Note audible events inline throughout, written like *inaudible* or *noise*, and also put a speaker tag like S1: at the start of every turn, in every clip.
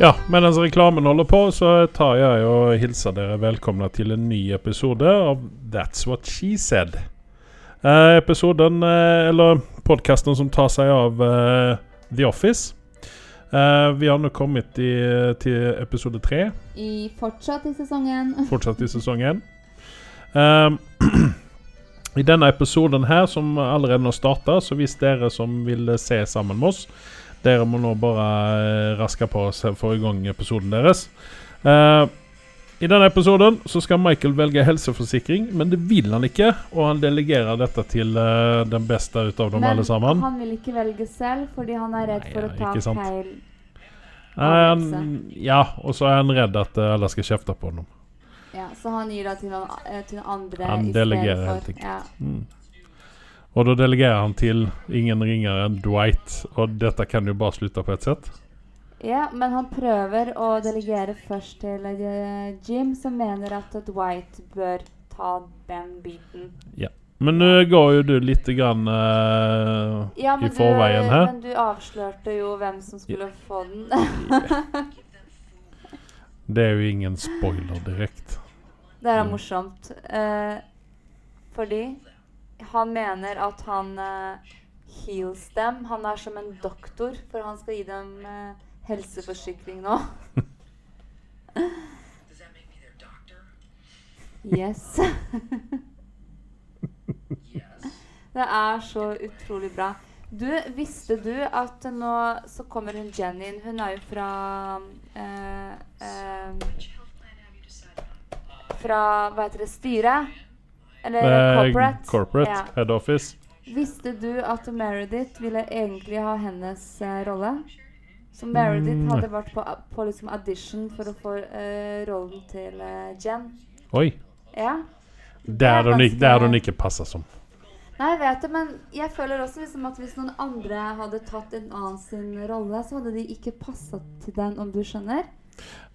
S1: Ja, mens reklamen holder på, så tar jeg og hilser dere velkomne til en ny episode av That's What She Said. Eh, episoden, eh, eller podkasten som tar seg av eh, The Office. Eh, vi har nå kommet i, eh, til episode tre,
S2: I fortsatt i sesongen.
S1: fortsatt i sesongen. Ehm, *clears throat* I denne episoden her, som allerede nå starta, så hvis dere som vil se sammen med oss Dere må nå bare eh, raske på og se- få i gang episoden deres. Eh, I denne episoden så skal Michael velge helseforsikring, men det vil han ikke. Og han delegerer dette til eh, den beste ut av dem alle sammen.
S2: han vil ikke velge selv fordi han er redd
S1: Nei,
S2: for
S1: ja,
S2: å ta
S1: ikke sant.
S2: feil.
S1: Nei, han, ja, og så er han redd at eh, alle skal kjefte på ham.
S2: Ja, så han gir da til noen, eh, til noen andre
S1: Han
S2: i stedet
S1: delegerer
S2: for-
S1: helt enkelt.
S2: Ja.
S1: Mm. Og da delegerer han til ingen ringere enn Dwight, og dette kan jo bare slutte på et sett.
S2: ja, men han prøver å delegere først til eh, Jim, som mener at Dwight bør ta den biten.
S1: Men nå går jo du litt grann eh,
S2: Ja,
S1: i forveien her.
S2: men du avslørte jo hvem som skulle få den.
S1: Det er jo ingen spoiler direkte.
S2: Det er
S1: Mm.
S2: morsomt. eh, fordi han mener at han eh, heals dem. Han er som en doktor, for han skal gi dem eh, helseforsikring nå.
S3: Does that make me their doctor?
S2: Yes.
S3: Yes.
S2: *laughs* Det er så utrolig bra. Du, visste du at nå så kommer hun Jenny inn? Hun er jo fra eh, eh,
S3: Which health plan have you decided on?
S2: Fra, hva heter det, styret? Eller
S1: Eh,
S2: corporate?
S1: corporate
S2: Ja.
S1: Head office.
S2: Visste du at Meredith ville egentlig ha hennes eh, rolle? Så Meredith
S1: Mm.
S2: hadde vært på, på liksom audition for å få eh, rollen til eh, Jen.
S1: Oi.
S2: Ja.
S1: Der
S2: Det er
S1: hun ikke, der
S2: ganske-
S1: hun ikke passer som.
S2: Nei, jeg vet det, men jeg føler også liksom at hvis noen andre hadde tatt en annen sin rolle, så hadde de ikke passa til den, om du skjønner?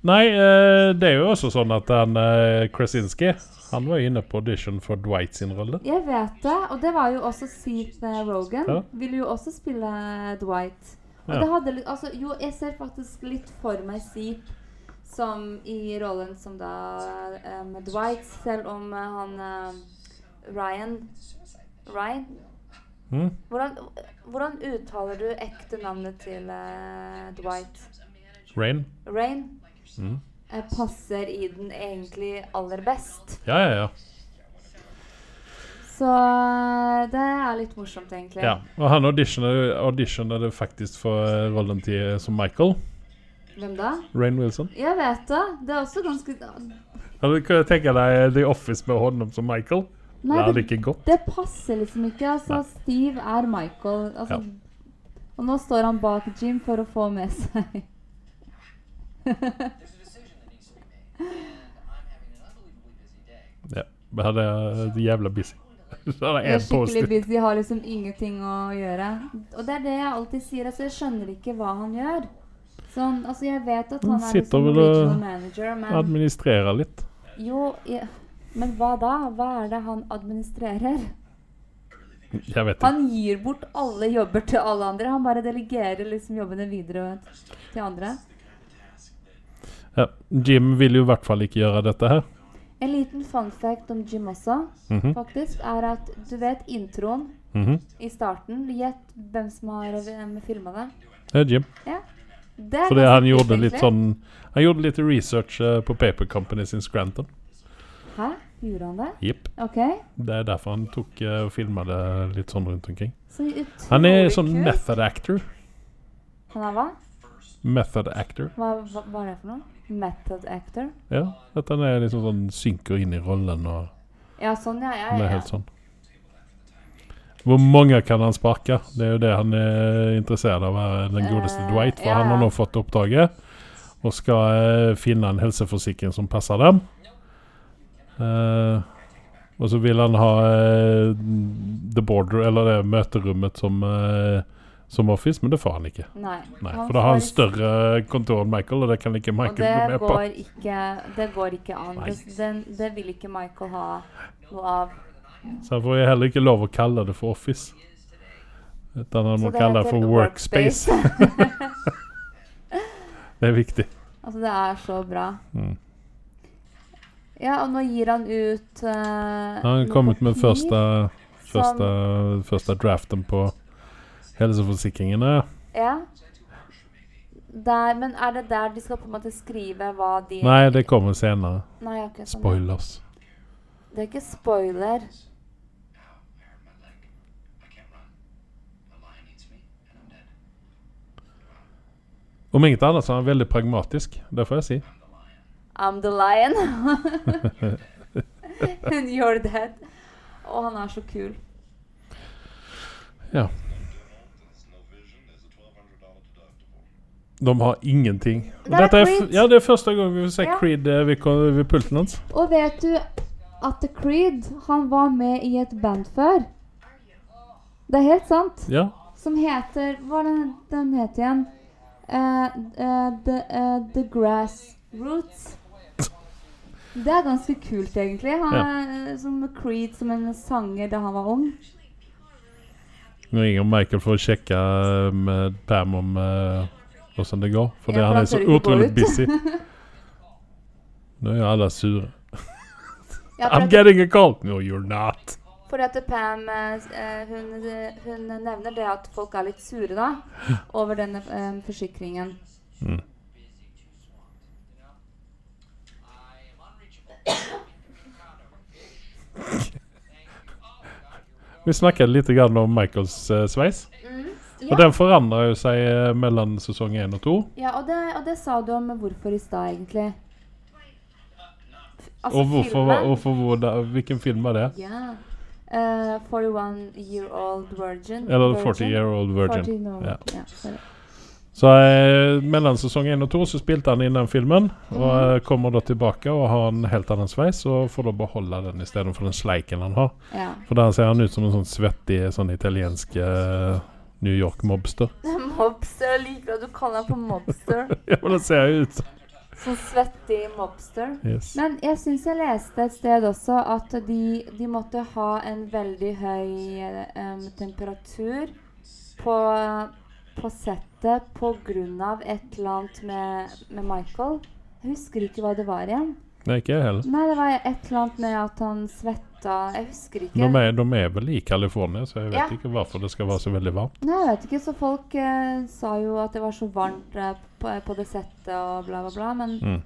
S1: Nei, eh, det er jo også sånn at han eh, Krasinski Han var jo inne på audition for Dwight sin rolle.
S2: Jeg vet det, og det var jo også Seth eh, Rogan.
S1: Ja.
S2: Ville jo også spille eh, Dwight. Og
S1: Ja.
S2: det hadde litt Altså, jo, jeg ser faktisk litt for meg Seth som i rollen som da eh, med Dwight, selv om eh, han eh, Ryan Ryan?
S1: Mm?
S2: Hvordan, hvordan uttaler du ekte navnet til eh, Dwight?
S1: Rain?
S2: Rain
S1: Mm.
S2: eh, passer i den egentlig aller best.
S1: Ja, ja, ja.
S2: Så eh, det er litt morsomt, egentlig.
S1: ja. Og han auditionet auditionet faktisk for eh, rollen til, som Michael.
S2: Hvem da?
S1: Rain Wilson.
S2: Jeg vet det. Det er også ganske
S1: Hadde du kunnet tenke deg eh, The Office med honom som Michael?
S2: Nei,
S1: det hadde
S2: det,
S1: ikke gått.
S2: det passer liksom ikke. Altså, Steve er Michael. Altså, Og nå står han bak Jim for å få med
S1: *laughs*
S2: seg
S3: There's a decision that needs to be made, and I'm having an unbelievably busy day.
S1: Ja. Det hadde vært jævla busy. *laughs* Så hadde jeg
S2: Jeg er
S1: en
S2: skikkelig
S1: post-it.
S2: busy, har liksom ingenting å gjøre. Og det er det jeg alltid sier. Altså, jeg skjønner ikke hva han gjør. Sånn, altså, jeg vet at han er
S1: Sitter
S2: liksom
S1: vel og- øh,
S2: regional manager, men
S1: Administrere litt.
S2: jo jeg, Men hva da? Hva er det han administrerer?
S1: Jeg vet ikke.
S2: Han gir bort alle jobber til alle andre. Han bare delegerer liksom jobbene videre til andre.
S1: Ja. Jim vil jo i hvert fall ikke gjøre dette her.
S2: En liten fun fact om Jim også,
S1: Mhm.
S2: faktisk, er at du vet introen
S1: Mhm.
S2: i starten. Gjett hvem som har filma det.
S1: Det er Jim.
S2: det er
S1: Fordi
S2: ganske
S1: han
S2: kult,
S1: gjorde litt
S2: egentlig.
S1: sånn Han gjorde litt research eh, på Paper Company sin Scranton. sånn-
S2: Hæ? Gjorde han det?
S1: Jipp.
S2: OK.
S1: Det er derfor han tok eh, og filma det litt sånn rundt omkring.
S2: Så utrolig
S1: Han er sånn
S2: kult.
S1: method actor.
S2: Han er hva?
S1: Method actor.
S2: Hva, hva, hva er det for noe? Method actor?
S1: Ja. At han er liksom sånn synker inn i rollen og
S2: Ja, sånn, ja. ja,
S1: han er
S2: ja.
S1: helt sånn. Hvor mange kan han sparke? Det er jo det han er interessert av, her, den godeste
S2: Eh,
S1: Dwight. For
S2: ja.
S1: han har nå fått oppdraget og skal eh, finne en helseforsikring som passer dem. Eh, og så vil han ha eh, the border, eller det møterommet som, eh, som office, men det får han ikke.
S2: Nei.
S1: sånn- Nei, for da har han
S2: får-
S1: større kontor enn Michael, og det kan ikke
S2: Og
S1: Michael
S2: det
S1: gå med på.
S2: går ikke, det går ikke an.
S1: Nei.
S2: Det, den, det vil ikke Michael ha noe av.
S1: Så han får jo heller ikke lov å kalle det for Office. Utan han
S2: Så
S1: må
S2: det
S1: kalle det
S2: heter
S1: for Workspace. *laughs* Det er viktig.
S2: *laughs* Altså, det er så bra.
S1: Mm.
S2: Ja, og nå gir han ut eh,
S1: Han har kommet med
S2: noe
S1: første,
S2: papir som-
S1: første, første draften på helseforsikringene.
S2: Ja. Der, men er det der de skal på en måte skrive hva de
S1: Nei, det kommer senere.
S2: Nei, ok, sånn.
S1: Spoilers.
S2: Det er ikke spoiler.
S3: Ow, I hurt my leg. I can't run. A lion eats me, and I'm dead.
S1: Om inget annet så er han veldig pragmatisk. Det får jeg si.
S2: I'm the
S1: *laughs*
S2: lion. *laughs* And you're dead. Og han er så kul.
S1: Ja.
S4: Distance, no vision is a $1,200 deductible.
S1: De har ingenting.
S2: Det er
S1: Dette er f
S2: Creed.
S1: ja, det er første gang vi får se
S2: Ja.
S1: Creed eh, ved, ko- ved pulten hans.
S2: Og vet du at Creed han var med i et band før? Det er helt sant.
S1: Ja.
S2: Som heter Hva er den, den het igjen? Eh, eh, the, eh, the Grass Roots. Det er ganske kult, egentlig. Han
S1: Ja.
S2: er eh, som Creed som en sanger da han var ung.
S1: Nå ringer Michael for å sjekke eh, med Pam om eh, åssen det går. Fordi
S2: Ja, for
S1: han
S2: han
S1: er så
S2: tør ikke gå
S1: utrolig
S2: ut. *laughs*
S1: busy. Nå er alle sure.
S2: Ja, for
S1: I'm
S2: at-
S1: getting a call! No, you're not.
S2: Fordi at Pam eh, s- eh, hun, eh, hun nevner det at folk er litt sure
S1: *laughs*
S2: da over denne eh, forsikringen.
S3: Busy, too swamped, you know? I am unreachable. Incommunicado. Thank you. Oh, God, you're welcome.
S1: Vi snakket litt grann om Michaels eh, sveis. Og
S2: Ja,
S1: den forandrer jo seg eh, mellom sesong én og to.
S2: ja og, det, og det sa du om hvorfor i stad, egentlig. F- altså,
S1: Og hvorfor,
S2: filmen-
S1: hvorfor hvor da- hvilken film var det?
S2: Ja. Eh, 41 year old virgin.
S1: Eller
S2: Virgin?
S1: 40 Year Old Virgin.
S2: 40 nå.
S1: Ja.
S2: Ja, sorry.
S1: Så eh, mellom sesong 1 og 2 så spilte han inn den filmen, og
S2: Mhm.
S1: eh, kommer da tilbake og har en helt annen sveis, og får da beholde den istedenfor den sleiken han har.
S2: ja.
S1: For der ser han ut som en sånn svettig sånn italiensk eh, New York-mobster.
S2: *laughs* Mobster. Jeg liker at du kaller ham for mobster.
S1: *laughs* ja, men det ser jo ut som.
S2: Sånn svettig mobster.
S1: Yes.
S2: Men jeg syns jeg leste et sted også at de, de måtte ha en veldig høy em, temperatur på, på settet pga. et eller annet med, med Michael. Jeg husker ikke hva det var igjen.
S1: Nei, ikke jeg heller.
S2: Nei, det var et eller annet med at han svetta Jeg husker ikke.
S1: De er, de er vel i California, så jeg vet
S2: Ja.
S1: ikke hvorfor det skal være så veldig varmt.
S2: Nei, jeg vet ikke, så folk eh, sa jo at det var så varmt eh, på, på det settet og bla, bla, bla, men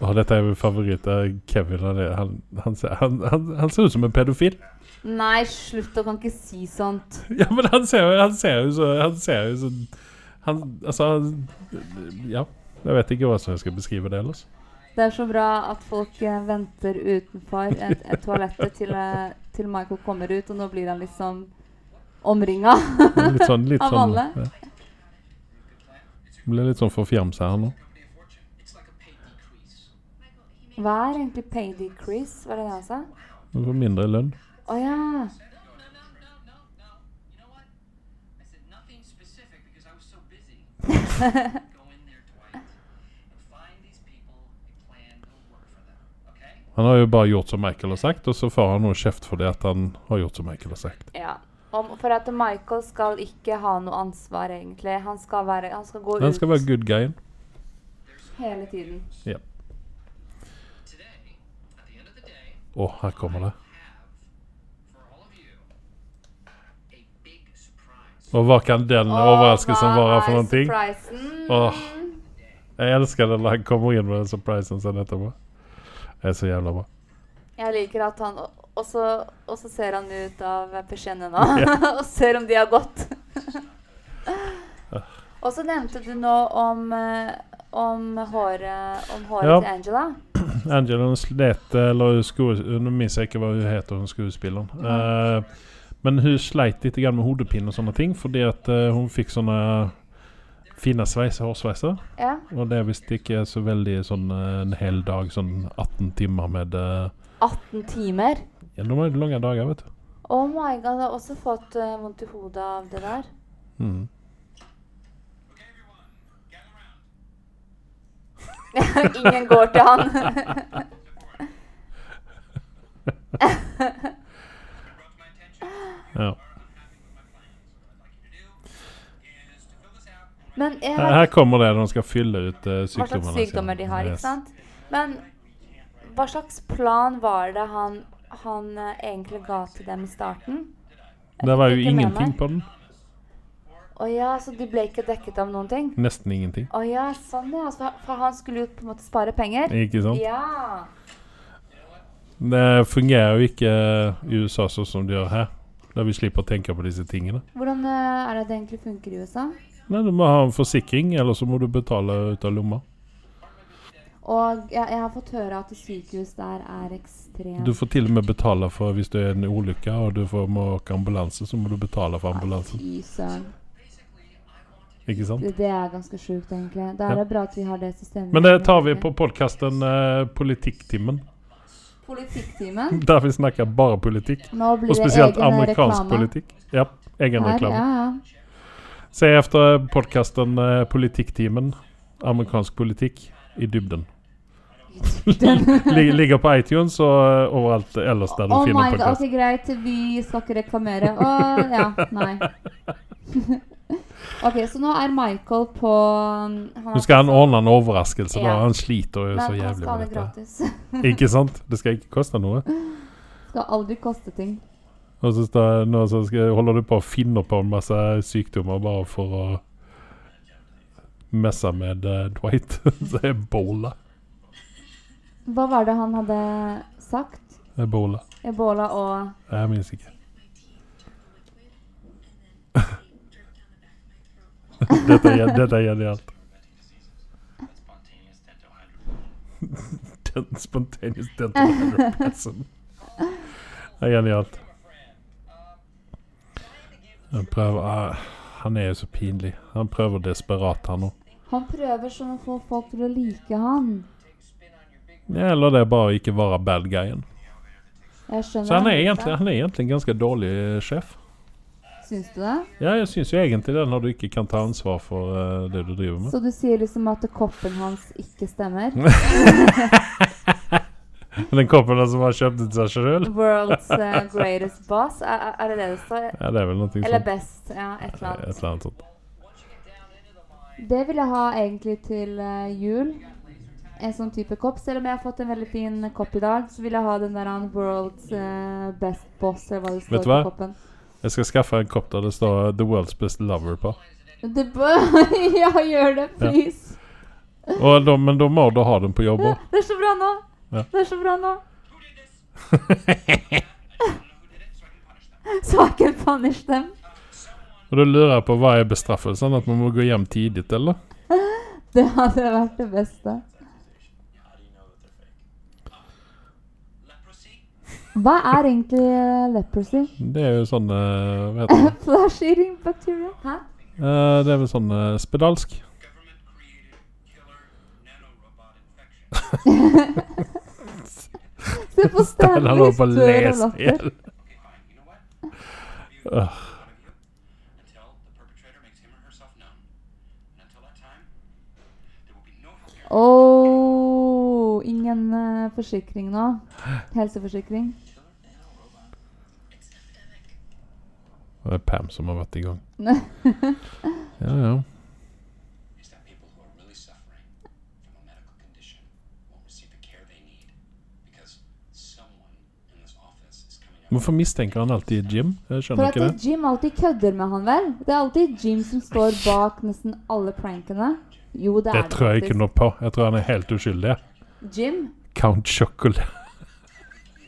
S1: Og dette er jo favoritt av Kevin. Han, er- han, han, ser- han, han, han ser ut som en pedofil. *laughs*
S2: Nei, slutt, du kan ikke si sånt.
S1: Ja, men han ser jo, han ser jo så Han ser jo så Han Altså han- Ja. Jeg vet ikke hvordan jeg skal beskrive det ellers.
S2: Det er så bra at folk eh, venter utenfor et, et toalettet til, eh, til Michael kommer ut, og nå blir han liksom omringa.
S1: Litt sånn, litt
S2: Av
S1: sånn
S2: alle?
S1: ja. Ble litt sånn forfjamsa her nå.
S3: Company a fortune. It's like a pay decrease.
S2: *laughs* Hva er egentlig pay decrease? Var det det han sa?
S1: Du får mindre lønn.
S2: Å ja.
S3: No, no,
S2: *laughs*
S3: no, no, no, no. You know what? I said nothing specific because I was so busy. Go in there, Dwight, and find these people a plan that'll work for them. Okay?
S1: Han har jo bare gjort som Michael har sagt, og så får han noe kjeft for det at han har gjort som Michael har sagt.
S2: ja. Om, for at Michael skal ikke ha noe ansvar, egentlig. Han skal, være, han skal gå
S1: Han
S2: ut
S1: skal være good guyen.
S2: hele tiden.
S1: Ja.
S3: Today, at the end of the day,
S1: Å, her kommer det.
S3: have for all of you a big surprise.
S1: Og hva kan den overraskelsen være for noen ting?
S2: Surprisen?
S1: Åh. Jeg elsker det når han kommer inn med den surprisen sin etterpå. Det er så jævla bra.
S2: Jeg liker at han og- Og så og så ser han ut av persiennene *laughs* og ser om de
S1: *laughs*
S2: har gått. og så nevnte du nå om, eh, om håret, om håret
S1: Ja.
S2: til Angela.
S1: Angela hon slet, eller skues- nu minns jag inte vad hon heter, hon skuespillaren. Eh, men hon slet lite grann med hodepine och sådana ting för det att eh, hon fick sådana fina svejsar, hårsvejsar.
S2: Ja.
S1: Och det visste inte så väldigt sån eh, en hel dag, sån 18 timmar med... eh,
S2: 18 timer.
S1: ja, de har ju långa dagar vet du.
S2: Oh my god, jeg har også fått eh, vondt i hodet av det der. *laughs*
S1: Mm.
S3: Okay, everyone, gather around.
S2: Ingen går til han. *laughs*
S3: Brought to my attention. Are unhappy with my plans. What I'd like you to do is to fill this out and write
S1: Ja.
S2: Men Men jeg
S1: Her
S2: har
S1: her kommer det når en skal fylle ut eh,
S2: hva
S1: sykdommene.
S2: slags
S1: sine.
S2: sykdommer de har,
S1: Yes.
S2: ikke sant? Men hva slags plan var det han, han eh, egentlig ga til dem i starten?
S1: Det var jo
S2: Ikke med
S1: ingenting
S2: meg.
S1: på den.
S2: Å ja, så de ble ikke dekket av noen ting?
S1: Nesten ingenting.
S2: Å ja, sånn ja. så- For han skulle jo på en måte spare penger.
S1: Ikke sant?
S2: Ja.
S1: Det fungerer jo ikke i USA sånn som det gjør her. Der vi slipper å tenke på disse tingene.
S2: Hvordan eh, er det det egentlig funker i USA?
S1: Nei, Du må ha en forsikring, eller så må du betale ut av lomma.
S2: Og jeg, jeg har fått høre at sykehus der er ekstremt
S1: Du får til og med betale for hvis det er en ulykke og du får må åke ambulanse, så må du betale for ambulansen.
S2: Fy søren.
S1: Ikke sant?
S2: Det, det er ganske sjukt, egentlig. Da er
S1: Ja.
S2: det bra at vi har det systemet.
S1: Men det tar vi
S2: Norge.
S1: på podkasten Politikktimen.
S2: Politikktimen.
S1: *laughs* Der vi snakker bare politikk.
S2: Nå blir
S1: Og
S2: det
S1: spesielt
S2: egen
S1: amerikansk
S2: reklame.
S1: politikk. Ja, egen
S2: Her,
S1: reklame.
S2: Ja, ja.
S1: Se efter podcasten eh, Politiktimen. Amerikansk politikk i dybden. Lig- Ligger på iTunes og eh, overalt ellers der du
S2: Oh
S1: finner
S2: my god,
S1: podcast.
S2: ok greit, vi skal ikke reklamere. Å, ja, nei.
S1: *laughs*
S2: ok, så nå er Michael på um, han
S1: Nå skal han ordne en overraskelse. da.
S2: Ja.
S1: Han sliter jo så
S2: men han
S1: jævlig
S2: skal ha
S1: med
S2: det
S1: dette.
S2: gratis. *laughs*
S1: Ikke sant? Det skal ikke koste noe.
S2: skal aldri koste ting.
S1: Og så står, nå så skal, holder du på å finne på en masse sykdommer bare for å messe med eh, Dwight. *laughs* det er ebola.
S2: Hva var det han hadde sagt?
S1: Ebola.
S2: Ebola og
S1: Jeg minnes ikke. *laughs* dette, er, dette er genialt.
S3: Spontaneous dentohydro.
S1: Den spontaneous dental hydroplasm. Det er genialt. Han prøver ah, Han er jo så pinlig. Han prøver desperat, han òg.
S2: Han prøver sånn å få folk til å like han.
S1: Ja, eller det er bare å ikke være bad guyen.
S2: Jeg skjønner.
S1: Så han er egentlig, han er egentlig en ganske dårlig eh, sjef.
S2: Syns du det?
S1: Ja, jeg syns jo egentlig det, når du ikke kan ta ansvar for eh, det du driver med.
S2: Så du sier liksom at koppen hans ikke stemmer?
S1: *laughs* Den koppen der som har kjøpt den til seg sjøl?
S2: World's eh, greatest boss? Er, er- er det det det står?
S1: Mm. *laughs* Ja, det er vel noe sånt.
S2: Eller best, ja, et eller
S1: Et
S2: annet.
S1: eller annet sånt.
S2: Det vil jeg ha egentlig til eh, jul. En sånn type kopp. Selv om jeg har fått en veldig fin kopp i dag, så vil jeg ha den der han World's eh, Best Boss, eller hva det
S1: Vet
S2: står
S1: du hva?
S2: på koppen.
S1: Jeg skal skaffe en kopp der det står eh, 'The World's Best Lover' på.
S2: Det bør *laughs* Ja, gjør det, please!
S1: Og da, men da må du ha den på jobb òg.
S2: Det er så bra nå!
S1: Ja.
S2: Det er så bra nå!
S3: Who did this? I don't know who did it, so I can punish them.
S2: Så
S1: Og
S2: jeg kan punish dem.
S1: du lurer på hva er bestraffelsen? At man må gå hjem tidlig, eller?
S2: Det hadde vært det beste.
S3: How do you know that they're fake? Uh, Leprosy?
S2: Hva er egentlig eh, leprosy? *laughs*
S1: Det er jo sånn eh, Hva heter det?
S2: *coughs* Flash eating bacteria? Hæ?
S1: Eh, det er vel sånn eh, spedalsk.
S3: Government created killer nanorobot *laughs* infection.
S2: Se på
S1: *laughs* Den har
S2: Stanley
S1: på å
S2: dør av
S1: lese
S2: latter.
S1: igjen.
S3: Okay, fine. You know what? One of you. Until the perpetrator makes him or herself known. And until that time, there will be no help here.
S2: Åh, ingen eh, forsikring nå. Helseforsikring.
S1: Det er Pam som har vært i gang.
S2: Nei.
S1: Ja, ja.
S3: It's that people who are really suffering from a medical condition won't receive the care they need because someone in this office is coming up.
S1: Hvorfor mistenker han alltid Jim? Jeg
S2: For
S1: skjønner
S2: at
S1: ikke det.
S2: Jim alltid kødder med han, vel? Det er alltid Jim som står bak nesten alle prankene. Jo, det,
S1: Det
S2: er
S1: tror jeg ikke
S2: faktisk.
S1: noe på. Jeg tror han er helt uskyldig. ja.
S2: Jim?
S1: Count Chocolate.
S3: You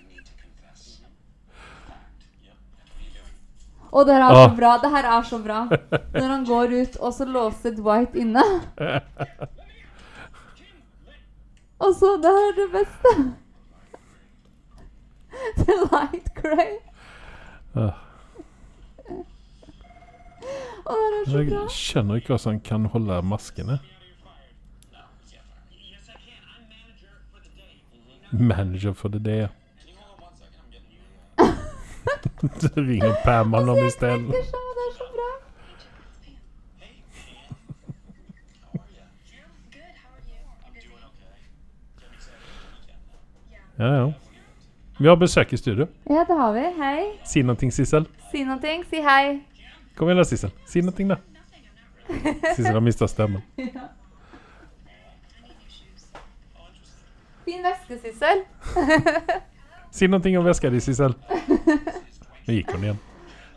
S3: need to confess. Fact. Yep. That's what you're doing.
S2: Å, det her er så
S1: Åh.
S2: bra. Det her er så bra. Når han går ut, og så låser Dwight inne. Og så Det her er det beste. *laughs* The light grey.
S1: Ah.
S2: Å, det her er *laughs* så bra.
S1: Jeg skjønner ikke hvordan han kan holde maskene.
S3: No, you can't fire me.
S5: Yes, I can. I'm manager
S1: Manager for
S5: for the day.
S1: the day.
S3: Can you hold on one second? I'm getting you. Uh,
S1: *laughs* Så ringer Pam han om isteden.
S2: Det er så- det er så bra.
S3: hey, man. How are you? Jim?
S6: Good, how are you?
S3: I'm doing okay. Getting excited for the weekend now.
S1: Ja, ja. Vi har besøk i studio.
S2: Ja, det har vi. Hei.
S1: Si noe, Sissel.
S2: Si noe. Si hei.
S1: Kom igjen, da, Sissel. Si noe, da. Sissel har mista stemmen.
S2: Fin veske, Sissel.
S1: Si någonting om väskan din Sissel. Nu gick hon igen.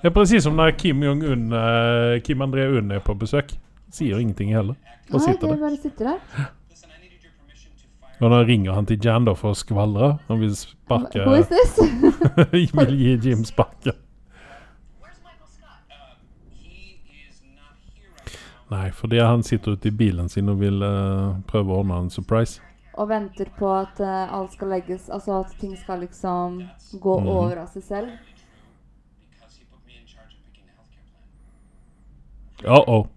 S1: Det är precis som när Kim Jong-Un, eh, Kim André Un är på besök. Säger ingenting heller. Och
S2: Nei,
S1: sitter
S2: det
S1: där.
S2: bare sitter der.
S5: Listen, I needed your permission to fire.
S1: Och då ringer han till Jan då för att skvallra. Han vill
S2: Who
S1: sparka...
S2: is this?
S1: *laughs* vill ge Jim sparken.
S5: Where's Michael Scott? Um, he is not here right now.
S1: Nej, för det är han sitter ute i bilen sin och vill eh, pröva att ordna en surprise.
S2: Og venter på at eh, alt skal legges Altså at ting skal liksom gå
S1: Mhm.
S2: over av seg selv.
S5: Really true, because he put me in charge of picking the healthcare plan.
S1: Uh oh.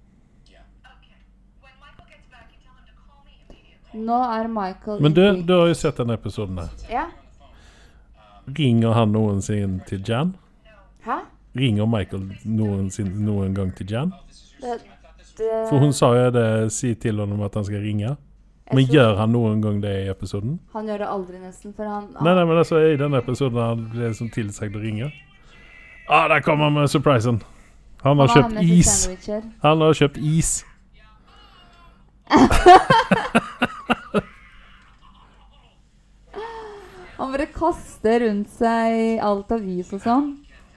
S5: Yeah.
S6: Okay. When Michael gets back, you tell him to call me immediately.
S2: Nå er Michael
S1: Men
S2: i
S1: du,
S2: bygg.
S1: du har ju sett den här episoden här.
S2: Ja?
S1: Ringer han någonsin till Jan?
S2: Hæ?
S1: Ringer Michael någonsin någon gång till Jan?
S2: Det,
S1: För
S2: det,
S1: hon sa ju det, si till honom att han ska ringa. Men
S2: jeg tror
S1: gör han någon gång det i episoden?
S2: han gjør det aldri, nesten, for han
S1: Nej, nej men alltså i den här episoden när han blev som tillsagd att ringa. Ah, där kommer han med surprisen. Han har
S2: han
S1: köpt
S2: annet i
S1: is.
S2: sandwicher.
S1: Han har köpt is.
S2: Han bare kaster rundt seg alt av is og sånn.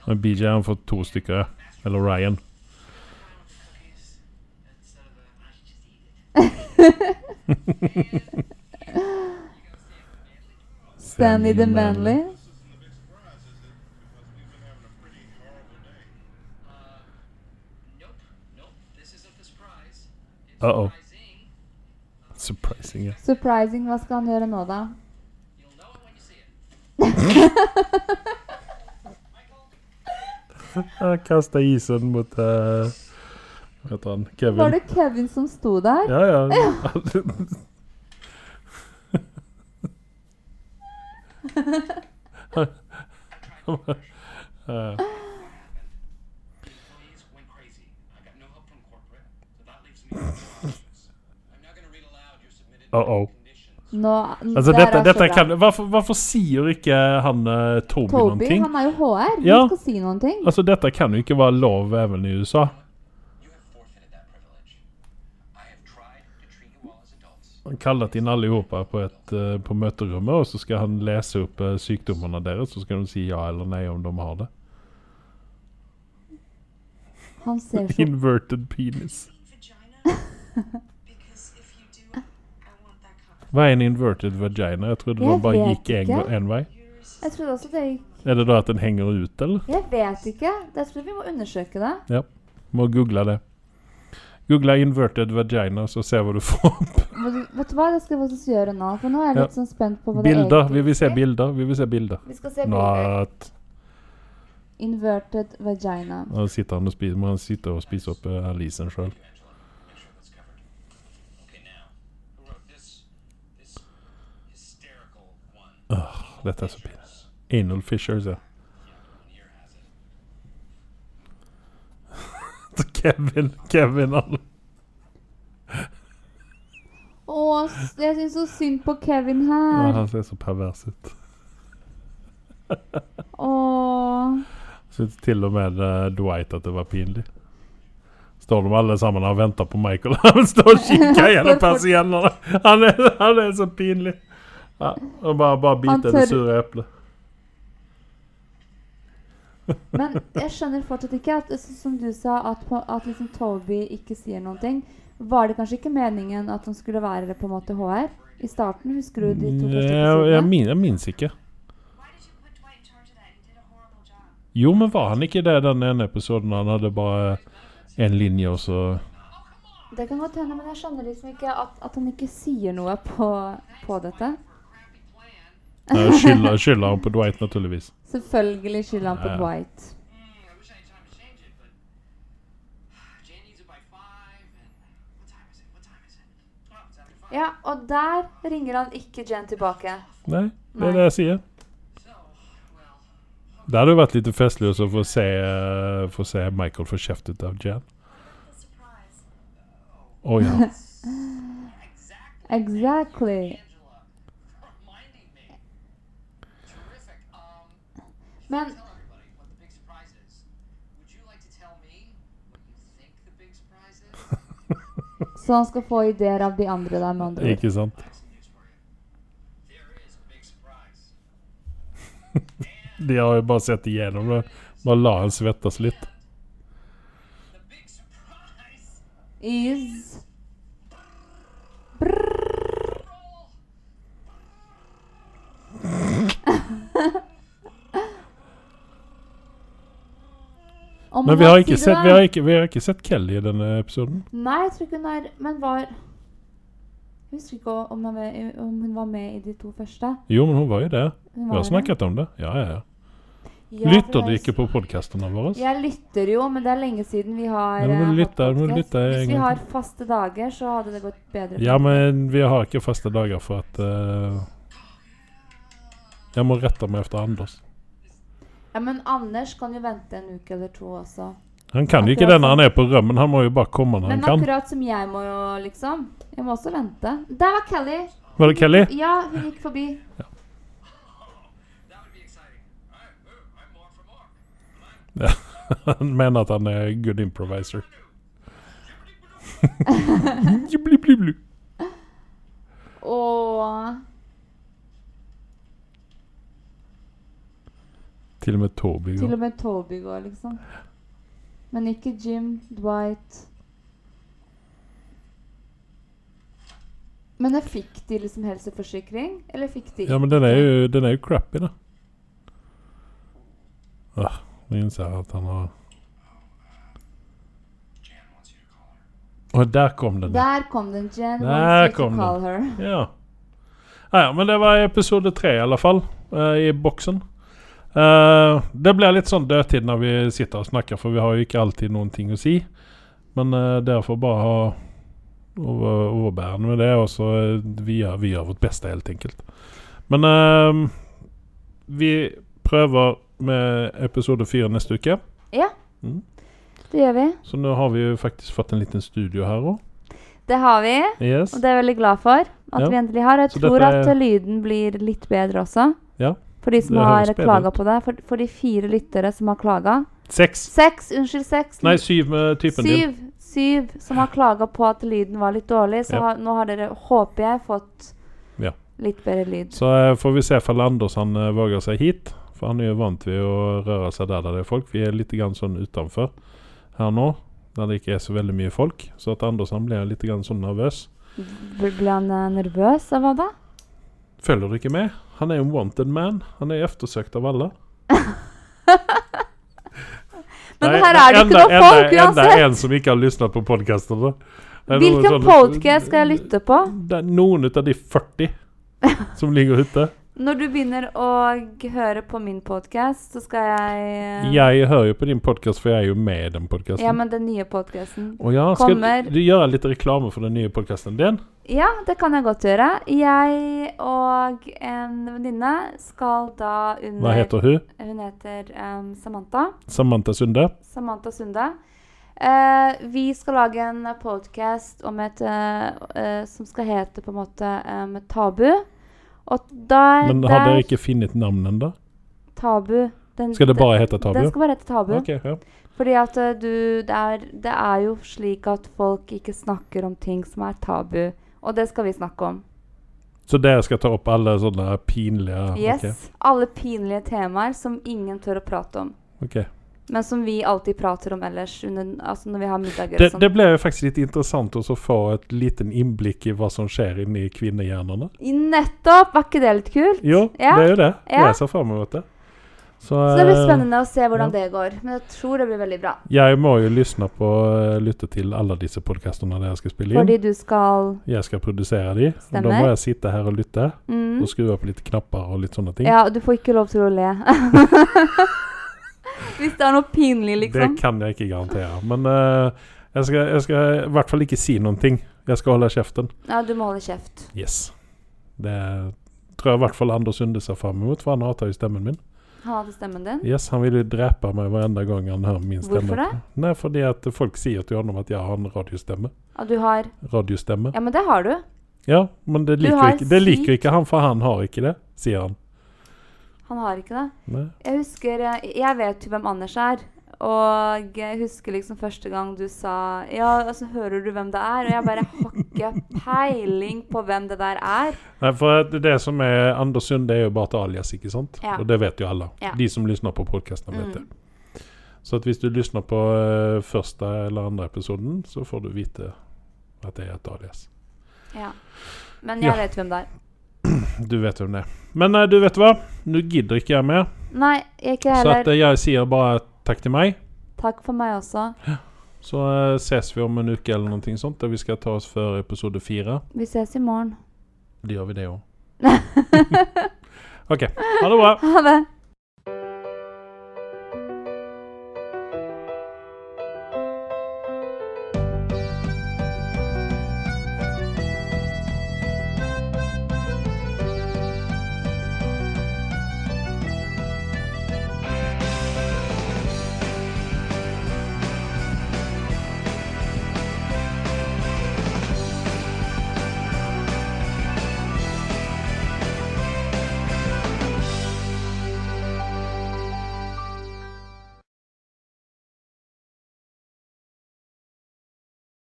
S1: Men BJ han får två stycken. ja. Eller Ryan.
S5: Cookies instead of a. I should just eat it.
S2: Stanley the Manly.
S4: This isn't a big surprise, is it? Because we've been having a pretty horrible day.
S1: Uh-oh. Surprising ja.
S5: Uh, nope, nope. This isn't the surprise. It's surprising.
S2: Surprising. Hva skal han gjøre nå, da?
S5: You'll know it when you see it. Michael,
S1: Han kastar isen mot... eh, Vad heter han? Kevin.
S2: Var det Kevin som sto der?
S1: Ja, ja. *laughs* Eh,
S5: employees went crazy. I got no help from corporate, so that leaves me with two options. I'm not going to read aloud your submitted
S1: Uh-oh.
S5: conditions.
S2: Nå,
S1: Alltså
S2: der
S1: detta,
S2: er
S1: detta
S2: skjønna.
S1: kan... Varför, varför säger inte han eh, Toby,
S2: Toby,
S1: någonting?
S2: han er jo HR. Han
S1: Ja.
S2: skal si noen ting.
S1: Alltså detta kan ju inte vara lov även i USA.
S5: You have forfeited that privilege. I have tried to treat you all as adults.
S1: Han kallat in allihopa på, ett, eh, på möterummet och så ska han läsa upp eh, sjukdomarna deras så ska de säga ja eller nej om de har det.
S2: Han ser så
S6: *laughs*
S1: Inverted penis.
S6: Vagina? because if you do, I want that covered.
S1: Vad är en inverted vagina? Jag trodde de
S2: Jag
S1: bara
S2: vet
S1: gick en,
S2: inte.
S1: en väg.
S6: Yours
S2: Jeg trodde også det gikk
S1: Är det då att den hänger ut eller?
S2: Jeg vet ikke. Jeg tror vi må undersøke det.
S1: Ja, må googla det. Googla inverted vagina så ser vad du får upp.
S2: Må du- Vet du hva, det skal jeg faktisk gjøre nå. For nå er jeg
S1: Ja.
S2: litt sånn spent på hva det
S1: Bilder,
S2: egentlig
S1: vi vill se
S2: er.
S1: bilder, vi vill se bilder.
S2: Vi skal se bilder.
S1: Nåt.
S2: Inverted vagina.
S1: Han sitter han och spiser, man sitter och spiser upp eh, all isen själv.
S5: Thank you, Angela. Make sure that's covered. Okay, now, who wrote this? This hysterical one.
S1: Detta är så pinsamt. Anal fissures *laughs* ja.
S5: Here has it.
S1: Kevin, Kevin han-
S2: Å, s- jeg syns så synd på Kevin
S1: Ja,
S2: her.
S1: han ser så pervers ut.
S2: Å.
S1: Så till och med eh, Dwight att det var pinligt. Står de allesammans och väntar på Michael. *laughs* Han står och kikar genom persiennerna. Han är, han är så pinlig. Ja, och bara, bara
S2: Han
S1: biter
S2: tör-
S1: det sura äpplet.
S2: Men jeg skjønner fortsatt ikke at så- som du sa, at, på- at liksom Toby ikke sier noen ting. Var det kanskje ikke meningen at han skulle være på en måte HR i starten? Husker du de to første
S1: Jeg, jeg,
S2: episodene?
S1: min, jeg minnes ikke.
S6: Why did you put Dwight in charge of that? He did a horrible job.
S1: Jo, men var han ikke det den ene episoden han hadde bare en linje, og så
S5: Oh,
S2: Det kan godt hende, men jeg skjønner liksom ikke at, at han ikke sier noe på, på dette.
S5: For a crappy plan.
S1: eh, skylder, skylder han på Dwight, naturligvis.
S2: Selvfølgelig skylder han på
S1: Ja.
S2: Dwight.
S5: Mm, I wish I had time to change it, but *sighs* Jane needs it by five. And what time is it? What time is it? Oh, it's after five.
S2: Ja, og der ringer han ikke Jen tilbake.
S1: Nei, det
S2: Nei.
S1: er det jeg sier.
S5: So, well,
S1: Det hadde jo vært litt festlig også å få se, eh, få se Michael få kjeft ut av Jan.
S6: The surprise.
S1: Å
S2: *laughs*
S1: ja.
S5: oh, exactly.
S2: Exactly.
S5: Angela, *laughs* for reminding me. Terrific. Um, should
S2: Men-
S5: I tell everybody what the big surprise is? Would you like to tell me what you think the big surprise is?
S2: Så han skal få ideer av de andre der, med andre ord.
S1: Ikke sant?
S5: That's the news for you. There is a big surprise.
S1: De har jo bare sett igjennom det. Bare la han svettes litt.
S5: The big *laughs* surprise!
S2: Is
S5: Roll!
S2: Om
S1: Men vi
S2: han
S1: har ikke
S2: sier det
S1: sett,
S2: der-
S1: vi har ikke, vi har ikke sett Kelly i denne episoden.
S2: Nei, jeg tror ikke hun er Men var Jeg husker ikke om hun, var med, om hun var med i de to første.
S1: Jo, men hun var jo der. Vi
S2: Hun var
S1: har
S2: jo
S1: snakket om det. Ja, ja, ja.
S2: det. Ja, for
S1: Lytter
S2: det
S1: du
S2: er-
S1: ikke på podkastene våre?
S2: Jeg lytter jo, men det er lenge siden vi har
S1: Ja, men
S2: eh, hatt
S1: lytte- men
S2: podcast.
S1: lytte en
S2: Hvis vi
S1: gang
S2: har faste dager, så hadde det gått bedre.
S1: Ja, men vi har ikke faste dager for at eh, Jeg må rette meg etter Anders.
S2: Ja, men Anders kan jo vente en uke eller to også.
S1: Han kan jo ikke
S2: Akkurat sånn.
S1: det når han er på rømmen. Han må jo bare komme når han
S2: Men
S1: kan.
S2: akkurat som jeg må jo, liksom. Jeg må også vente. Der var Kelly!
S1: Var det Kelly?
S2: Ja, hun gikk forbi.
S5: That would be exciting. I'm, I'm Mark from Mark.
S1: Ja, han *laughs* mener at han er good
S2: *laughs*
S1: improviser. Jibli, bli, bli.
S2: Og
S1: Til og med Toby.
S2: til
S1: går.
S2: og med Toby går, liksom. Men ikke Jim, Dwight Men jeg fikk de liksom helseforsikring? Eller fikk de
S1: Ja, men den er jo, den er jo crappy, da. Ah, Nå innser jeg at han har
S5: Jan wants you to call her.
S1: Og der kom den. ja.
S2: Der kom den, Jen.
S1: Der
S2: wants you to
S1: kom den.
S2: call her.
S1: Ja. Ja, ja, men det var episode tre i alla fall, eh, i boksen. Eh, det blir litt sånn dødtid når vi sitter og snakker, for vi har jo ikke alltid noen ting å si. Men eh, dere får bare ha over, overbærende med det, og så eh, vi, gjør- vi gjør vårt beste, helt enkelt. Men eh, vi prøver med episode fire neste uke.
S2: Ja,
S1: Mm.
S2: det gjør vi.
S1: Så nå har vi jo faktisk fått en liten studio her òg.
S2: Det har vi,
S1: Yes.
S2: og det er jeg veldig glad for at
S1: Ja.
S2: vi endelig har. Jeg
S1: Så
S2: tror
S1: dette er-
S2: at lyden blir litt bedre også.
S1: Ja.
S2: For de som
S1: Det høres
S2: har
S1: bedre
S2: klaga på det. For, for de fire lyttere som har klaga.
S1: Seks.
S2: Seks, unnskyld, seks.
S1: Nei, syv med typen din.
S2: syv, syv som har klaga på at lyden var litt dårlig. Så
S1: Ja.
S2: har, nå har dere, håper jeg, fått
S1: Ja.
S2: litt bedre lyd.
S1: Så eh, får vi se om Anders han eh, våger seg hit. For han er jo vant ved å røre seg der, der det er folk. Vi er litt grann sånn utenfor her nå, der det ikke er så veldig mye folk. Så at Anders han blir litt grann sånn nervøs.
S2: Bl- Ble han eh, nervøs av hva da?
S1: Følger du ikke med? Han er jo en wanted man. Han er eftersøkt av alle.
S2: Men
S1: Nei,
S2: her er det jo ikke
S1: enda-
S2: noe folk
S1: enda-
S2: uansett!
S1: Enda en sånn- som ikke har lyttet på podkastene.
S2: Hvilken podcast skal jeg lytte på?
S1: Det er noen ut av de 40 som ligger
S2: *laughs*
S1: ute.
S2: Når du begynner å g- høre på min podkast, så skal jeg eh,
S1: Jeg hører jo på din podkast, for jeg er jo med i den podkasten.
S2: Ja, men den nye podkasten.
S1: Å ja, skal
S2: Kommer.
S1: du gjøre litt reklame for den nye podkasten din?
S2: Ja, det kan jeg godt gjøre. Jeg og en venninne skal da under
S1: Hva heter hun?
S2: Hun heter em, Samantha.
S1: Samantha Sunde?
S2: Samantha Sunde. Eh, vi skal lage en podkast om et eh, eh, som skal hete på en måte em, Tabu. Og der,
S1: Men har
S2: der
S1: dere ikke funnet navnet ennå?
S2: Tabu. Den,
S1: Skal det bare hete Tabu?
S2: Den skal bare hete Tabu.
S1: Ok, ja.
S2: Fordi at eh, du det er, det er jo slik at folk ikke snakker om ting som er tabu. Og det skal vi snakke om.
S1: Så dere skal ta opp alle sånne pinlige
S2: Yes.
S1: ok,
S2: Alle pinlige temaer som ingen tør å prate om.
S1: ok.
S2: Men som vi alltid prater om ellers under, altså når vi har middager.
S1: Det,
S2: og sånt.
S1: det ble jo faktisk litt interessant også å få et liten innblikk i hva som skjer inni kvinnehjernene.
S2: I Nettopp! Var ikke det litt kult?
S1: Jo,
S2: Ja.
S1: det er jo det.
S2: Ja.
S1: Jeg ser fram mot det. Så,
S2: Så det blir
S1: eh,
S2: spennende å se hvordan
S1: ja.
S2: det går. Men jeg tror det blir veldig bra.
S1: eh, Jeg må jo lyssna på, eh, lytte til alle disse podkastene dere skal spille inn.
S2: Fordi du skal
S1: Jeg skal produsere de, og da
S2: Stemmer.
S1: må jeg sitte her og lytte.
S2: mm,
S1: Og skru opp litt knapper og litt sånne ting.
S2: Ja, du får ikke lov til å le. *laughs* Hvis det er noe pinlig, liksom.
S1: Det kan jeg ikke garantere. Men eh, jeg, skal, jeg skal i hvert fall ikke si noen ting. Jeg skal holde kjeften.
S2: Ja, du må holde kjeft.
S1: Yes. Det tror jeg i hvert fall Anders Sunde ser fram mot, for han hater jo stemmen min.
S2: Ha det stemmen din.
S1: Yes, Han vil jo drepe meg hver eneste gang han hører min stemme.
S2: Hvorfor det?
S1: Nei, Fordi at folk sier til ham at jeg har en radiostemme.
S2: Ja, du har
S1: Radiostemme.
S2: Ja, men det har du.
S1: Ja, men det
S2: Du har
S1: liker, ikke, det liker
S2: sykt-
S1: ikke han, for han har ikke det, sier han.
S2: Han har ikke det.
S1: Nei.
S2: Jeg husker eh, Jeg vet jo hvem Anders er. Og jeg husker liksom første gang du sa Ja, altså, hører du hvem det er? Og jeg bare har ikke peiling på hvem det der er.
S1: Nei, for det- det som er Anders Sunde, er jo bare et alias, ikke sant?
S2: Ja.
S1: Og det vet jo alle.
S2: Ja. Mm.
S1: De som lysner på podkasten, vet det. Så at hvis du lysner på eh, første eller andre episoden, så får du vite at det er et alias.
S2: Ja. Men jeg
S1: Ja.
S2: vet hvem det er.
S1: Du vet hvem det er. Men eh, du vet hva? Nå gidder ikke jeg mer,
S2: Nei, ikke
S1: så at
S2: heller.
S1: eh, jeg sier bare takk til meg.
S2: Takk for meg også.
S1: Så eh, ses vi om en uke eller noe sånt, der vi skal ta oss før episode fire.
S2: Vi ses i morgen. *laughs*
S1: Det gjør vi det òg. OK. Ha det bra.
S2: Ha det.